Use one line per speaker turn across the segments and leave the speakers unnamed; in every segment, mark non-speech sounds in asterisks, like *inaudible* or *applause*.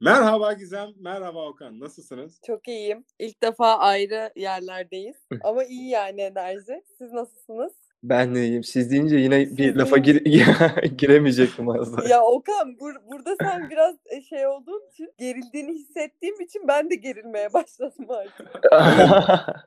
Merhaba Gizem, merhaba Okan. Nasılsınız?
Çok iyiyim. İlk defa ayrı yerlerdeyiz. Ama iyi yani enerji. Siz nasılsınız?
Ben de iyiyim. Siz deyince yine
Siz
bir lafa gir- *laughs* giremeyecektim az daha.
Ya Okan bur- burada sen biraz şey olduğun için gerildiğini hissettiğim için ben de gerilmeye *laughs* başladım artık.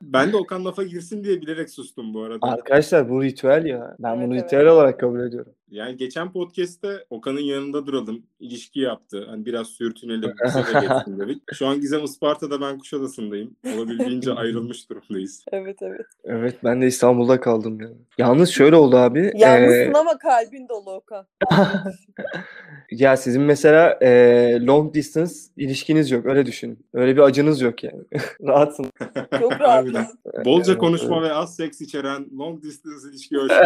Ben de Okan lafa girsin diye bilerek sustum bu arada.
*laughs* Arkadaşlar bu ritüel ya. Ben
Evet,
bunu
evet.
ritüel olarak kabul ediyorum.
Yani geçen podcast'te Okan'ın yanında duralım. ilişki yaptı. Hani biraz sürtünelim. seve
*laughs*
geçsin dedik. Şu an Gizem Isparta'da ben Kuşadası'ndayım.
*laughs*
Olabildiğince ayrılmış durumdayız.
Evet evet.
Evet ben de İstanbul'da kaldım ya. Yalnız şöyle oldu abi.
Yalnızsın
ee,
ama kalbin dolu Okan.
*laughs* ya sizin mesela ee, long distance ilişkiniz yok öyle düşünün. Öyle bir acınız yok yani. *laughs* Rahatsın. *laughs*
Çok
Harbiden.
rahatız.
Bolca
Evet,
konuşma *laughs* ve az seks içeren long distance ilişki ölçüyor.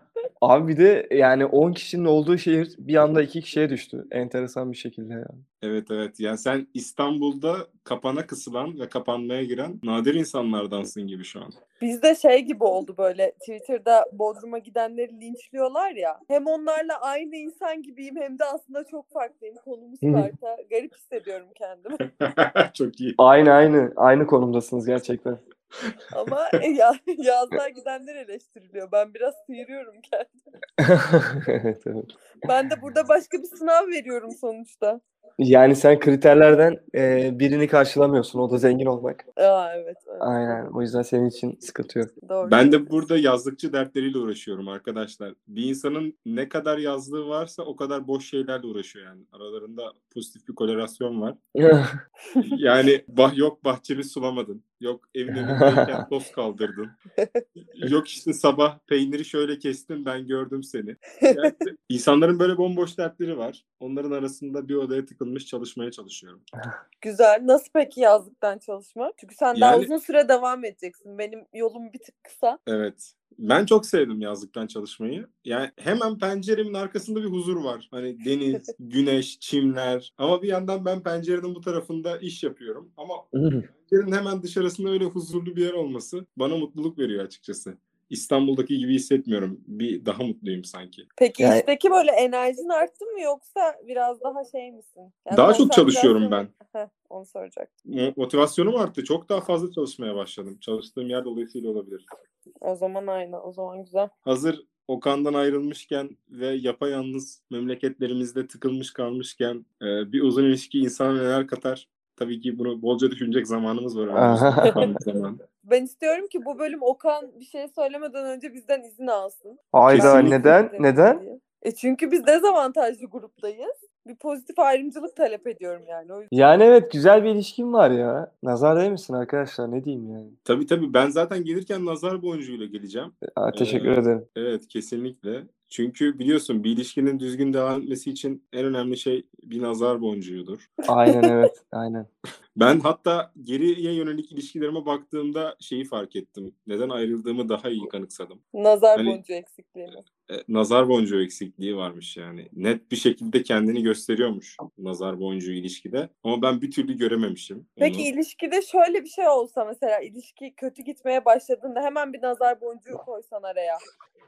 *laughs* Abi bir de yani 10 kişinin olduğu şehir bir anda 2 kişiye düştü. Enteresan bir şekilde ya.
Evet evet. Yani sen İstanbul'da kapana kısılan ve kapanmaya giren nadir insanlardansın gibi şu an. *laughs*
Bizde şey gibi oldu böyle Twitter'da Bodrum'a gidenleri linçliyorlar ya. Hem onlarla aynı insan gibiyim hem de aslında çok farklıyım. Konumuz
Hı.
farklı. Garip hissediyorum kendimi.
Çok iyi.
Aynı aynı. Aynı konumdasınız gerçekten.
Ama e, ya, yazlar gidenler eleştiriliyor. Ben biraz sıyırıyorum kendimi.
*laughs* evet, evet.
Ben de burada başka bir sınav veriyorum sonuçta.
Yani sen kriterlerden e, birini karşılamıyorsun. O da zengin olmak.
Aa evet. evet,
Aynen. O yüzden senin için sıkıntı yok.
Doğru.
Ben de burada yazlıkçı dertleriyle uğraşıyorum arkadaşlar. Bir insanın ne kadar yazlığı varsa o kadar boş şeylerle uğraşıyor yani. Aralarında pozitif bir korelasyon var. Yani bah yok bahçemi sulamadın. Yok evin önündeyken toz kaldırdın. Yok işte sabah peyniri şöyle kestin ben gördüm seni. Yani insanların böyle bomboş dertleri var. Onların arasında bir odaya tıkılmış çalışmaya çalışıyorum.
Güzel. Nasıl peki yazlıktan çalışma? Çünkü sen daha
Yani-
uzun süre devam edeceksin. Benim yolum bir tık kısa.
Evet. Ben çok sevdim yazlıktan çalışmayı. Yani hemen penceremin arkasında bir huzur var. Hani deniz, güneş, çimler. Ama bir yandan ben pencerenin bu tarafında iş yapıyorum. Ama pencerenin hemen dışarısında öyle huzurlu bir yer olması bana mutluluk veriyor açıkçası. İstanbul'daki gibi hissetmiyorum. Bir daha mutluyum sanki.
Peki
Yani-
işteki böyle enerjin arttı mı yoksa biraz daha şey misin? Yani
Daha çok çalışıyorum
konsantrasyon-
ben.
Heh, onu soracaktım.
Mo- Motivasyonum arttı. Çok daha fazla çalışmaya başladım. Çalıştığım yer dolayısıyla olabilir.
O zaman aynı. O zaman güzel.
hazır Okan'dan ayrılmışken ve yapayalnız memleketlerimizde tıkılmış kalmışken e, bir uzun ilişki insana neler katar? Tabii ki bunu bolca düşünecek zamanımız var.
Aha.
Kapanmış zaman.
Ben istiyorum ki bu bölüm Okan bir şey söylemeden önce bizden izin alsın.
*laughs* Ayda
Kesinlikle.
neden? Neden?
E çünkü biz dezavantajlı gruptayız. Bir pozitif ayrımcılık talep ediyorum yani. O yüzden.
Yani evet güzel bir ilişkin var ya. Nazar değil misin arkadaşlar? Ne diyeyim yani?
Tabii tabii ben zaten gelirken nazar boncuğuyla geleceğim.
Aa, teşekkür
Evet.
ederim.
Evet kesinlikle. Çünkü biliyorsun bir ilişkinin düzgün devam etmesi için en önemli şey bir nazar boncuğudur.
Aynen *laughs* evet. Aynen.
Ben hatta geriye yönelik ilişkilerime baktığımda şeyi fark ettim. Neden ayrıldığımı daha iyi kanıksadım.
Nazar
Hani-
boncuğu eksikliği mi?
E, nazar boncuğu eksikliği varmış yani. Net bir şekilde kendini gösteriyormuş nazar boncuğu ilişkide. Ama ben bir türlü görememişim. onu.
Peki ilişkide şöyle bir şey olsa mesela ilişki kötü gitmeye başladığında hemen bir nazar boncuğu koysan araya.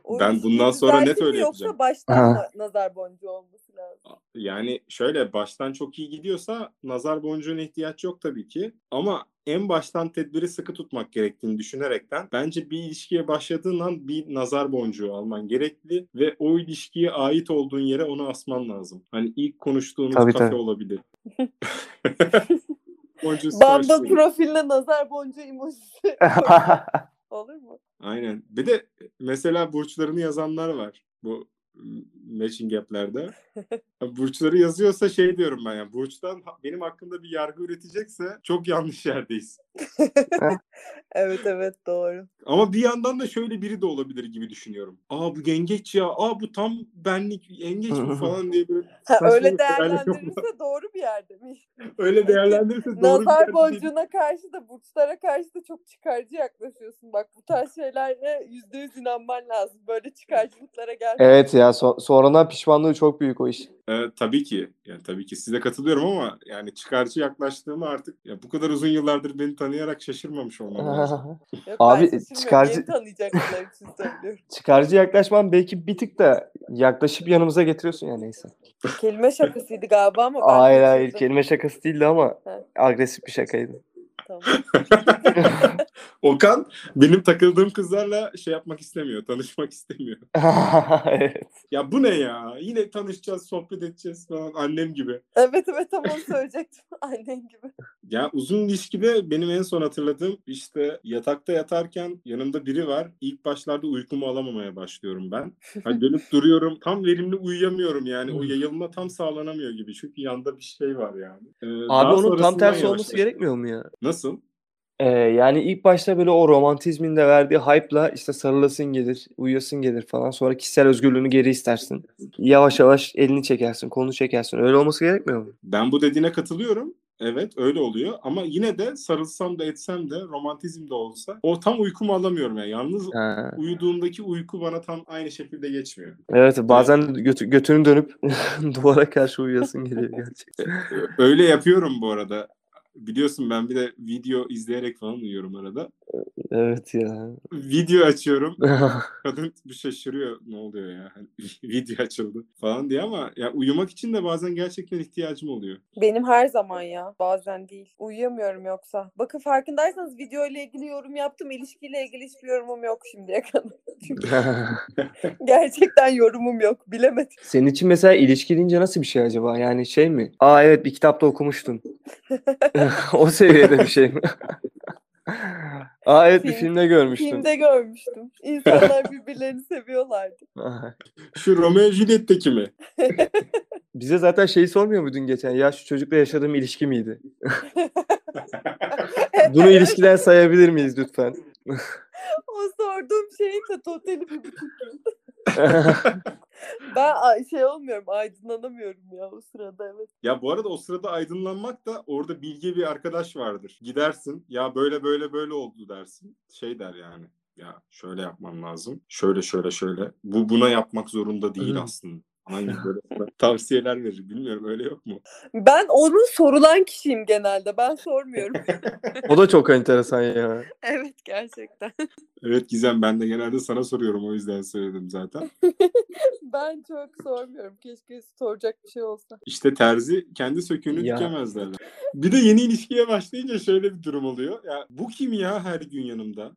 O
Ben
ilişki
bundan sonra net
düzeldi mi
öyle yapacağım.
Yoksa baştan
Ha.
mı nazar boncuğu olması lazım?
Yani şöyle baştan çok iyi gidiyorsa nazar boncuğuna ihtiyaç yok tabii ki. Ama en baştan tedbiri sıkı tutmak gerektiğini düşünerekten bence bir ilişkiye başladığın an bir nazar boncuğu alman gerekli ve o ilişkiye ait olduğun yere onu asman lazım. Hani ilk konuştuğunuz
Tabii,
kafe
tabii.
olabilir. *laughs* Boncuğu sıkıştırın.
Bumble profiline nazar boncuğu
*laughs*
emojisi koy. olur mu?
Aynen. Bir de e, mesela burçlarını yazanlar var. Bu m- matching
*laughs*
app'lerde. Burçları yazıyorsa şey diyorum ben ya. Burçtan ha- benim hakkımda bir yargı üretecekse çok yanlış yerdeyiz.
Evet evet doğru.
Ama bir yandan da şöyle biri de olabilir gibi düşünüyorum. Aa bu yengeç ya. Aa bu tam benlik yengeç
*laughs*
bu falan diye böyle
Ha,
Saçma
öyle
bir haberle yok.
değerlendirirse doğru bir yerde mi?
*laughs* öyle değerlendirirse doğru bir
Nazar
tercih değil.
boncuğuna karşı da burçlara karşı da çok çıkarcı yaklaşıyorsun. Bak bu tarz şeylere yüzde yüz inanman lazım. Böyle çıkarcılıklara gelme.
evet ya so- Sonradan pişmanlığı çok büyük o iş.
Ee, tabii ki. Yani tabii ki size katılıyorum ama yani çıkarcı yaklaştığımı artık ya bu kadar uzun yıllardır beni tanıyarak şaşırmamış olmam lazım.
Yok,
Abi,
ben şaşırmıyorum.
çıkarcı-
Yeni tanıyacaklar için söylüyorum.
*laughs* Çıkarcı yaklaşman belki bir tık da yaklaşıp yanımıza getiriyorsun ya neyse.
Kelime şakasıydı galiba ama ben
Hayır hayır
kaçırdım.
kelime şakası değildi ama
Ha.
agresif bir şakaydı.
Tamam.
Okan benim takıldığım kızlarla şey yapmak istemiyor, tanışmak istemiyor.
*laughs* evet.
Ya bu ne ya? Yine tanışacağız, sohbet edeceğiz falan annem gibi.
Evet evet tam onu söyleyecektim. *laughs* Annen gibi.
Ya uzun ilişkide benim en son hatırladığım işte yatakta yatarken yanımda biri var. İlk başlarda uykumu alamamaya başlıyorum ben. Hani dönüp duruyorum. Tam verimli uyuyamıyorum yani. O yayılma tam sağlanamıyor gibi. Çünkü yanda bir şey var yani. Ee, daha
Abi onun tam
sonrasından
tersi olması
yavaşlaştım.
gerekmiyor mu ya?
Nasıl?
Ee, yani ilk başta böyle o romantizmin de verdiği hype'la işte sarılasın gelir, uyuyasın gelir falan. Sonra kişisel özgürlüğünü geri istersin. Yavaş yavaş elini çekersin, kolunu çekersin. Öyle olması gerekmiyor mu?
Ben bu dediğine katılıyorum. Evet öyle oluyor ama yine de sarılsam da etsem de romantizm de olsa o tam uykumu alamıyorum yani. Yalnız
Ha.
uyuduğumdaki uyku bana tam aynı şekilde geçmiyor.
Evet bazen götü, götünü dönüp *laughs* duvara karşı uyuyasın geliyor gerçekten.
Öyle yapıyorum bu arada. Biliyorsun ben bir de video izleyerek falan uyuyorum arada.
Evet ya.
Video açıyorum. Kadın bir şaşırıyor ne oluyor ya. Hani *laughs* video açıldı falan diye ama ya uyumak için de bazen gerçekten ihtiyacım oluyor.
Benim her zaman ya. Bazen değil. Uyuyamıyorum yoksa. Bakın farkındaysanız video ile ilgili yorum yaptım. İlişkiyle ilgili hiçbir yorumum yok şimdiye kadar. *laughs* Çünkü gerçekten yorumum yok. Bilemedim.
Senin için mesela ilişki deyince nasıl bir şey acaba? Yani şey mi? Aa evet bir
*laughs*
kitapta okumuştum. *laughs* o seviyede bir şey mi? Aa evet bir
Film-
filmde görmüştüm.
Filmde görmüştüm. İnsanlar birbirlerini seviyorlardı.
Şu Romeo Juliet'teki mi?
Bize zaten şeyi sormuyor muydun geçen? Ya şu çocukla yaşadığım
*laughs*
ilişki miydi? *laughs* Bunu ilişkiden sayabilir
*laughs*
miyiz lütfen? *laughs*
O sorduğum şeyin de totali bir buçuk yıl. Ben a- şey olmuyorum. Aydınlanamıyorum ya o sırada evet.
Ya bu arada o sırada aydınlanmak da orada bilge bir arkadaş vardır. Gidersin ya böyle böyle böyle oldu dersin. Şey der yani ya şöyle yapman lazım. Şöyle şöyle şöyle. Bu buna yapmak zorunda değil
Hı.
aslında. Hangi böyle *laughs* tavsiyeler verir bilmiyorum öyle yok mu?
Ben onun sorulan kişiyim genelde. Ben sormuyorum.
O da çok
*laughs*
enteresan ya.
evet gerçekten.
Evet Gizem ben de genelde sana soruyorum o yüzden söyledim zaten.
Ben çok sormuyorum. Keşke soracak bir şey olsa.
İşte terzi kendi söküğünü
Ya.
dikemez derler. Bir de yeni ilişkiye başlayınca şöyle bir durum oluyor. Ya bu kim ya her gün yanımda?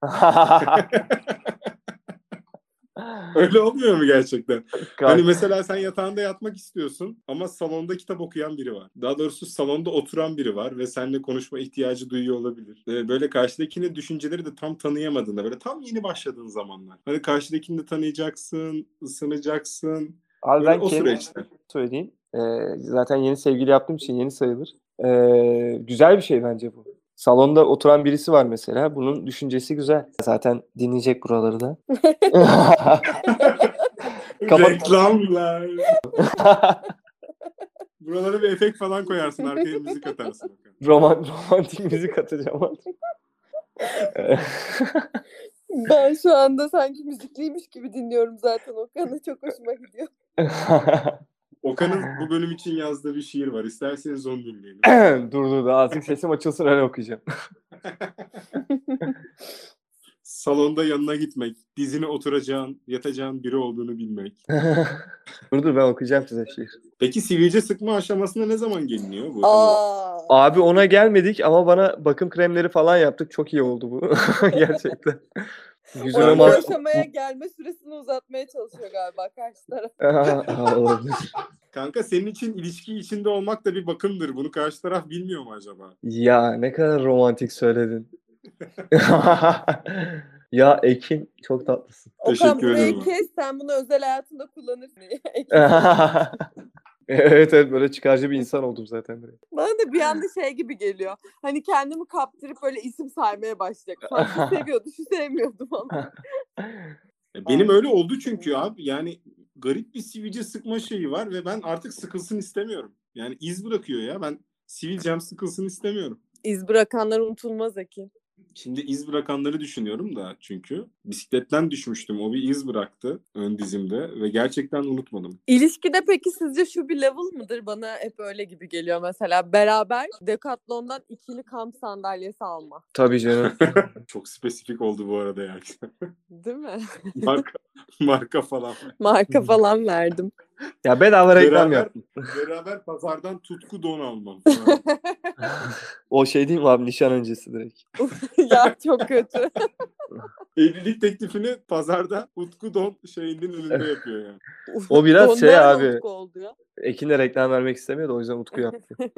Öyle olmuyor mu gerçekten? Hani mesela sen yatağında yatmak istiyorsun ama salonda kitap okuyan biri var. Daha doğrusu salonda oturan biri var ve seninle konuşma ihtiyacı duyuyor olabilir. Ee, Böyle karşıdakinin düşünceleri de tam tanıyamadığında böyle tam yeni başladığın zamanlar. Hani karşıdakini de tanıyacaksın, ısınacaksın.
Abi
Böyle
ben
o
kendi
süreçte.
söyleyeyim. Ee, zaten yeni sevgili yaptığım için yeni sayılır. Ee, güzel bir şey bence bu. Salonda oturan birisi var mesela. Bunun düşüncesi güzel. Zaten dinleyecek buraları *laughs* da. Kapat-
Reklamlar. Buralara bir efekt falan koyarsın. Arkaya müzik atarsın.
Roman, romantik müzik atacağım artık. *laughs* Ee,
Ben şu anda sanki müzikliymiş gibi dinliyorum zaten o kanı. Çok hoşuma gidiyor.
Okan'ın bu bölüm için yazdığı bir şiir var. İsterseniz onu
*clears throat*
dinleyelim.
dur dur dur. Azıcık sesim açılsın öyle okuyacağım.
Salonda yanına gitmek, dizine oturacağın, yatacağın biri olduğunu bilmek.
*laughs* dur dur ben okuyacağım size şey. şiir.
Peki sivilce sıkma aşamasına ne zaman geliniyor bu?
Aa.
Abi ona gelmedik ama bana bakım kremleri falan yaptık. Çok iyi oldu bu. *laughs* Gerçekten. Yüzüme
Onu
Orada
*laughs* mas...
aşamaya gelme süresini uzatmaya çalışıyor galiba karşı taraf.
Aa, olabilir.
Hani Kanka senin için ilişki içinde olmak da bir bakımdır. Bunu karşı taraf bilmiyor mu acaba?
Ya ne kadar romantik söyledin. Ya Ekin çok tatlısın. *laughs*
Okan
Teşekkür
burayı
ederim.
kes sen bunu özel hayatında kullanırsın. *laughs*
Evet evet böyle çıkarcı bir insan oldum zaten. direkt.
Bana da bir anda şey gibi geliyor. Hani kendimi kaptırıp böyle isim saymaya başlayacak. Falan.
*laughs*
Şu seviyordu, şu sevmiyordu falan.
E, Benim öyle oldu çünkü abi. Yani garip bir sivilce sıkma şeyi var ve ben artık sıkılsın istemiyorum. Yani iz bırakıyor ya. Ben sivilcem sıkılsın istemiyorum.
İz bırakanlar unutulmaz Ekin.
Şimdi iz bırakanları düşünüyorum da çünkü bisikletten düşmüştüm. O bir iz bıraktı ön dizimde ve gerçekten unutmadım.
İlişkide peki sizce şu bir level mıdır? Bana hep öyle gibi geliyor mesela. Beraber Decathlon'dan ikili kamp sandalyesi alma.
Tabii canım.
Çok spesifik oldu bu arada yani. *laughs*
Değil mi? *laughs*
marka, marka falan.
Hmm.
Marka falan verdim. *laughs*
ya bedava reklam
Beraber-
yap.
Beraber pazardan tutku don almam. falan.
O şey değil mi abi nişan öncesi direkt.
ya çok kötü.
Evlilik teklifini pazarda tutku don şeyinin önünde yapıyor yani.
O biraz
Ondan
şey abi.
Utku oldu ya.
Ekin de reklam vermek istemiyordu o yüzden Utku yaptı. *laughs*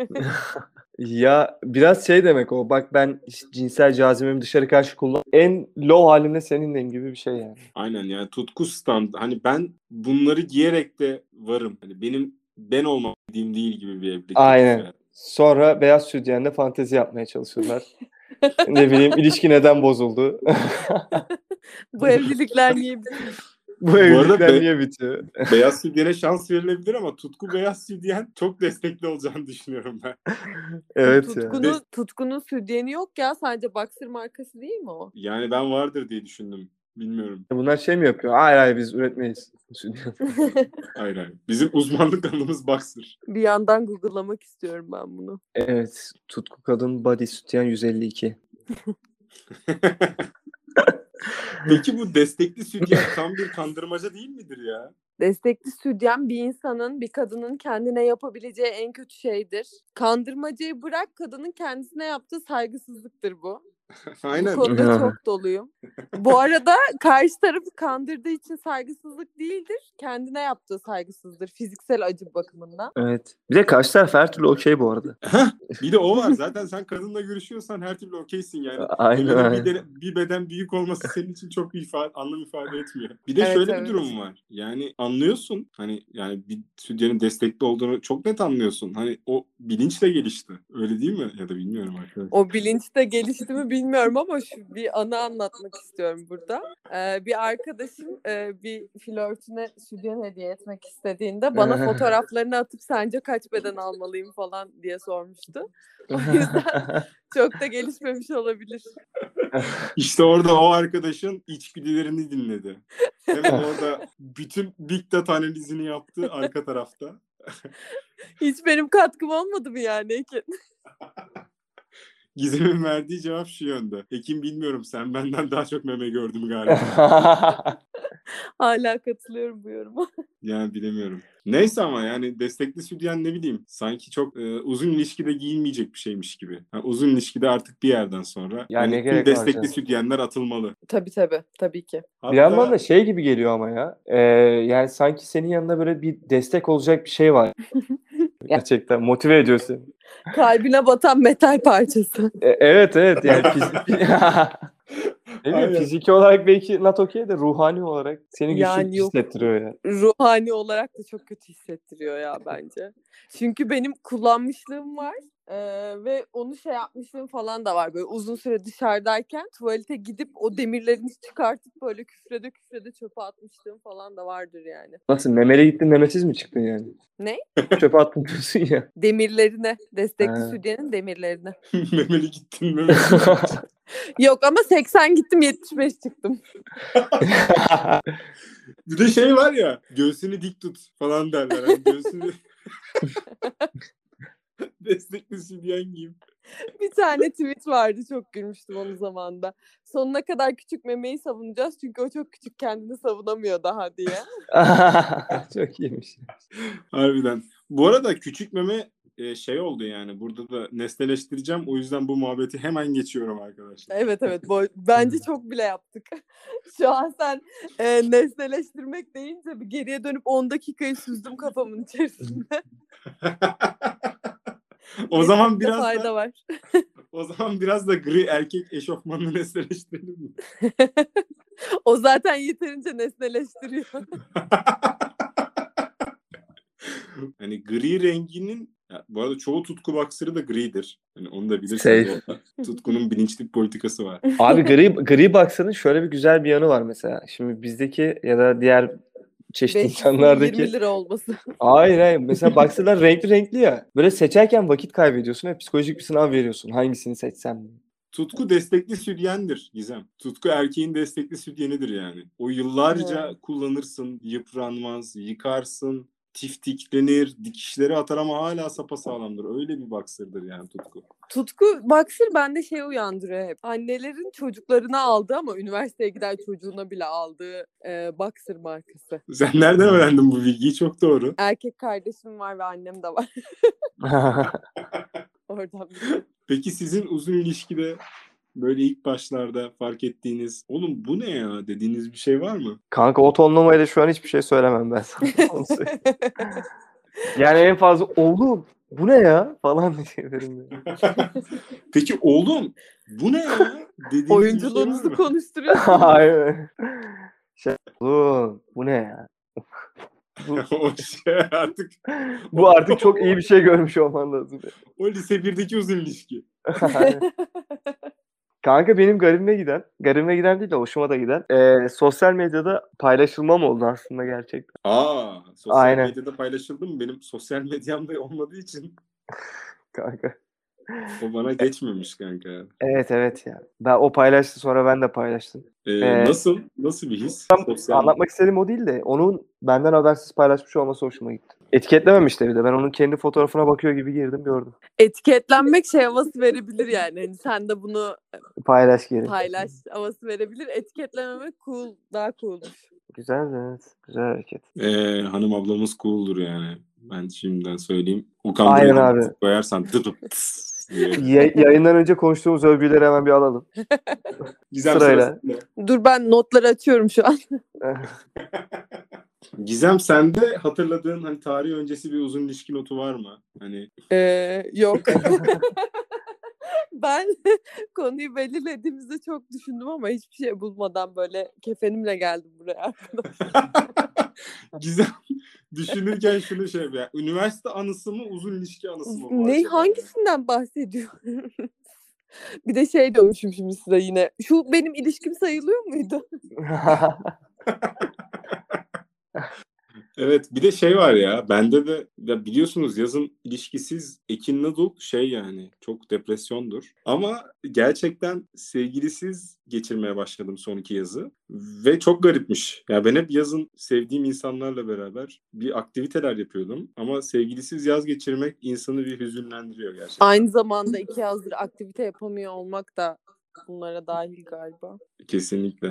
ya biraz şey demek o bak ben işte cinsel cazibemi dışarı karşı kullan. En low halimle seninleyim gibi bir şey yani.
Aynen yani tutku stand. Hani ben bunları giyerek de varım. Hani benim ben olmam dediğim değil gibi bir evlilik.
Aynen.
teklifi.
Sonra beyaz sütyenle fantezi yapmaya çalışıyorlar. ne bileyim ilişki neden bozuldu? *laughs*
Bu evlilikler niye bitti?
Bu
arada
evlilikler
be-
niye bitiyor?
Beyaz Südyen'e şans verilebilir ama Tutku Beyaz Südyen çok destekli olacağını düşünüyorum ben.
Evet ya.
tutkunun, tutkunun südyeni yok ya. Sadece Boxer markası değil mi o?
Yani ben vardır diye düşündüm. Bilmiyorum.
Bunlar şey mi yapıyor? Hayır hayır biz üretmeyiz. *laughs*
Hayır hayır. Bizim uzmanlık alanımız Boxer.
*laughs* Bir yandan google'lamak istiyorum ben bunu.
evet. Tutku Kadın Body Sütyen 152.
Peki bu destekli Südyen tam bir kandırmaca değil midir ya?
Destekli südyen bir insanın, bir kadının kendine yapabileceği en kötü şeydir. Kandırmacayı bırak, kadının kendisine yaptığı saygısızlıktır bu. Bu
Aynen.
konuda
Ya. *laughs*
çok doluyum. Bu arada karşı tarafı kandırdığı için saygısızlık değildir. Kendine yaptığı saygısızdır fiziksel acı bakımından.
Evet. Bir de karşı taraf her türlü okey bu arada.
Bir de o var. Zaten sen kadınla görüşüyorsan her türlü okeysin yani.
*laughs* Aynen
Kadının Bir,
aynen.
de- bir beden büyük olması senin için çok bir ifade, anlam ifade etmiyor. Bir de
Evet,
şöyle
evet.
bir durum var. Yani anlıyorsun hani yani bir stüdyenin destekli olduğunu çok net anlıyorsun. Hani o bilinçle gelişti. Öyle değil mi? Ya da bilmiyorum arkadaşlar.
O bilinç de gelişti mi bilmiyorum ama şu bir anı anlatmak istiyorum burada. Ee, bir arkadaşım e, bir flörtüne sütyen hediye etmek istediğinde bana fotoğraflarını atıp sence kaç beden almalıyım falan diye sormuştu. O yüzden çok da gelişmemiş olabilir.
İşte orada o arkadaşın içgüdülerini dinledi. Hemen orada bütün big data analizini yaptı arka tarafta.
Hiç benim katkım olmadı mı yani Ekin?
Gizem'in verdiği cevap şu yönde. Ekim bilmiyorum sen benden daha çok meme gördüm
*laughs*
galiba.
Hala katılıyorum bu yoruma.
Yani bilemiyorum. Neyse ama yani destekli sütyen ne bileyim sanki çok e, uzun ilişkide giyilmeyecek bir şeymiş gibi. Ha, uzun ilişkide artık bir yerden sonra
Ya ne
tüm
gerek var
destekli
canım?
sütyenler atılmalı.
Tabii tabii tabii ki.
Hatta
*laughs* bir
*laughs*
yandan da şey gibi geliyor ama ya. Ee, yani sanki senin yanında böyle bir destek olacak bir
*laughs*
şey var. Gerçekten motive ediyorsun.
Kalbine batan metal parçası.
E, evet evet yani fizik... *laughs* Ne bileyim,
Aynen.
fiziki olarak belki not okey de ruhani olarak seni güçlü
Yani yok.
hissettiriyor ya.
ruhani olarak da çok kötü hissettiriyor ya bence. Çünkü benim kullanmışlığım var eee, ve onu şey yapmışlığım falan da var. Böyle uzun süre dışarıdayken tuvalete gidip o demirlerini çıkartıp böyle küfrede küfrede çöpe atmışlığım falan da vardır yani.
Nasıl memeli gittin memesiz mi çıktın yani?
Ne?
Çöpe attın diyorsun
*laughs*
ya. *laughs*
Demirlerine, destekli
Ha.
sütyenin demirlerine.
şey-
memeli gittin memeli.
Yok ama 80 gittim 75 çıktım. *laughs*
Bir de şey var ya göğsünü dik tut falan derler. Hani göğsünü *laughs* destekli sütyen giyim.
Bir tane tweet vardı çok gülmüştüm onun zamanında. Sonuna kadar küçük memeyi savunacağız çünkü o çok küçük kendini savunamıyor daha diye.
Çok iyiymiş.
Harbiden. Bu arada küçük meme e, şey oldu yani burada da nesneleştireceğim. O yüzden bu muhabbeti hemen geçiyorum arkadaşlar.
Evet evet
*laughs*
boy- bence çok bile yaptık. *laughs* Şu an sen e, nesneleştirmek deyince bir geriye dönüp 10 dakikayı süzdüm kafamın içerisinde.
o zaman
Kesinlikle
biraz da-
fayda var.
O zaman biraz da gri erkek eşofmanını *laughs* nesneleştirelim mi?
O zaten yeterince nesneleştiriyor. *laughs*
hani gri renginin ya bu arada çoğu tutku baksırı da gridir. Hani onu da bilirsiniz.
Safe.
O- Tutkunun bilinçli bir politikası var.
Abi gri, gri box'ın şöyle bir güzel bir yanı var mesela. Şimdi bizdeki ya da diğer çeşitli
20
insanlardaki.
lira olması.
Hayır hayır. Mesela boxer'lar renkli renkli ya. Böyle seçerken vakit kaybediyorsun ve psikolojik bir sınav veriyorsun. Hangisini seçsem diye.
Tutku destekli sütyendir Gizem. Tutku erkeğin destekli sütyenidir yani. O yıllarca kullanırsın, yıpranmaz, yıkarsın, tiftiklenir, dikişleri atar ama hala sapasağlamdır. Öyle bir baksırdır yani tutku.
Tutku baksır bende şey uyandırıyor hep. Annelerin çocuklarına aldı ama üniversiteye giden çocuğuna bile aldığı e, baksır markası.
Sen nereden öğrendin bu bilgiyi? Çok doğru.
Erkek kardeşim var ve annem de var. *laughs*
*laughs*
Oradan biliyorum.
Peki sizin uzun ilişkide böyle ilk başlarda fark ettiğiniz oğlum bu ne ya dediğiniz bir şey var mı?
Kanka o tonlamayla şu an hiçbir şey söylemem ben sana. Onu söyleyeyim. yani en fazla oğlum bu ne ya falan diyebilirim. yani.
Peki oğlum bu ne
*laughs*
ya dediğiniz bir şey var
Oyunculuğunuzu
mı? *laughs*
konuşturuyorsunuz.
Aynen. Şey, oğlum bu ne ya? bu,
o şey artık
bu artık çok iyi bir şey görmüş olman lazım.
o lise 1'deki uzun ilişki.
Kanka benim garibime giden, garibime giden değil de hoşuma da giden. eee, sosyal medyada paylaşılmam oldu aslında gerçekten.
Aa sosyal
Aynen.
medyada paylaşıldı mı? Benim sosyal medyamda olmadığı için
Kanka.
o bana geçmemiş kanka.
Evet evet ya. Ben o paylaştı sonra ben de paylaştım.
Ee,
Ee,
nasıl? Nasıl bir his?
Tam
Sosyal...
Anlatmak istediğim o değil de onun benden habersiz paylaşmış olması hoşuma gitti. Etiketlememişti bir de. Ben onun kendi fotoğrafına bakıyor gibi girdim gördüm.
Etiketlenmek şey havası verebilir yani. Hani sen de bunu
Paylaş geri.
paylaş havası verebilir. Etiketlememek cool, daha coolmuş.
Güzel evet. Güzel hareket.
Ee, hanım ablamız cool'dur yani. Ben şimdiden söyleyeyim. Okan
Aynen
Bey'den
abi. *laughs*
koyarsan dıdıp tıs diye.
Ya- yayından önce konuştuğumuz övgüleri hemen bir alalım. *laughs*
Gizem
Sırayla.
sırasında.
Dur ben notları açıyorum şu an.
Gizem sende hatırladığın hani tarih öncesi bir uzun ilişki notu var mı? Hani
Ee, yok. *laughs* ben konuyu belirlediğimizde çok düşündüm ama hiçbir şey bulmadan böyle kefenimle geldim buraya.
Gizem düşünürken şunu şey yap ya. Üniversite anısı mı uzun ilişki anısı mı? bu
ne
acaba?
hangisinden bahsediyorsunuz? bir de şey diyormuşum şimdi size yine. Şu benim ilişkim sayılıyor muydu?
Evet bir de şey var ya bende de ya biliyorsunuz yazın ilişkisiz Ekin Nadol şey yani çok depresyondur. Ama gerçekten sevgilisiz geçirmeye başladım son iki yazı ve çok garipmiş. Ya ben hep yazın sevdiğim insanlarla beraber bir aktiviteler yapıyordum ama sevgilisiz yaz geçirmek insanı bir hüzünlendiriyor gerçekten.
Aynı zamanda iki yazdır aktivite yapamıyor olmak da bunlara dahil galiba.
Kesinlikle.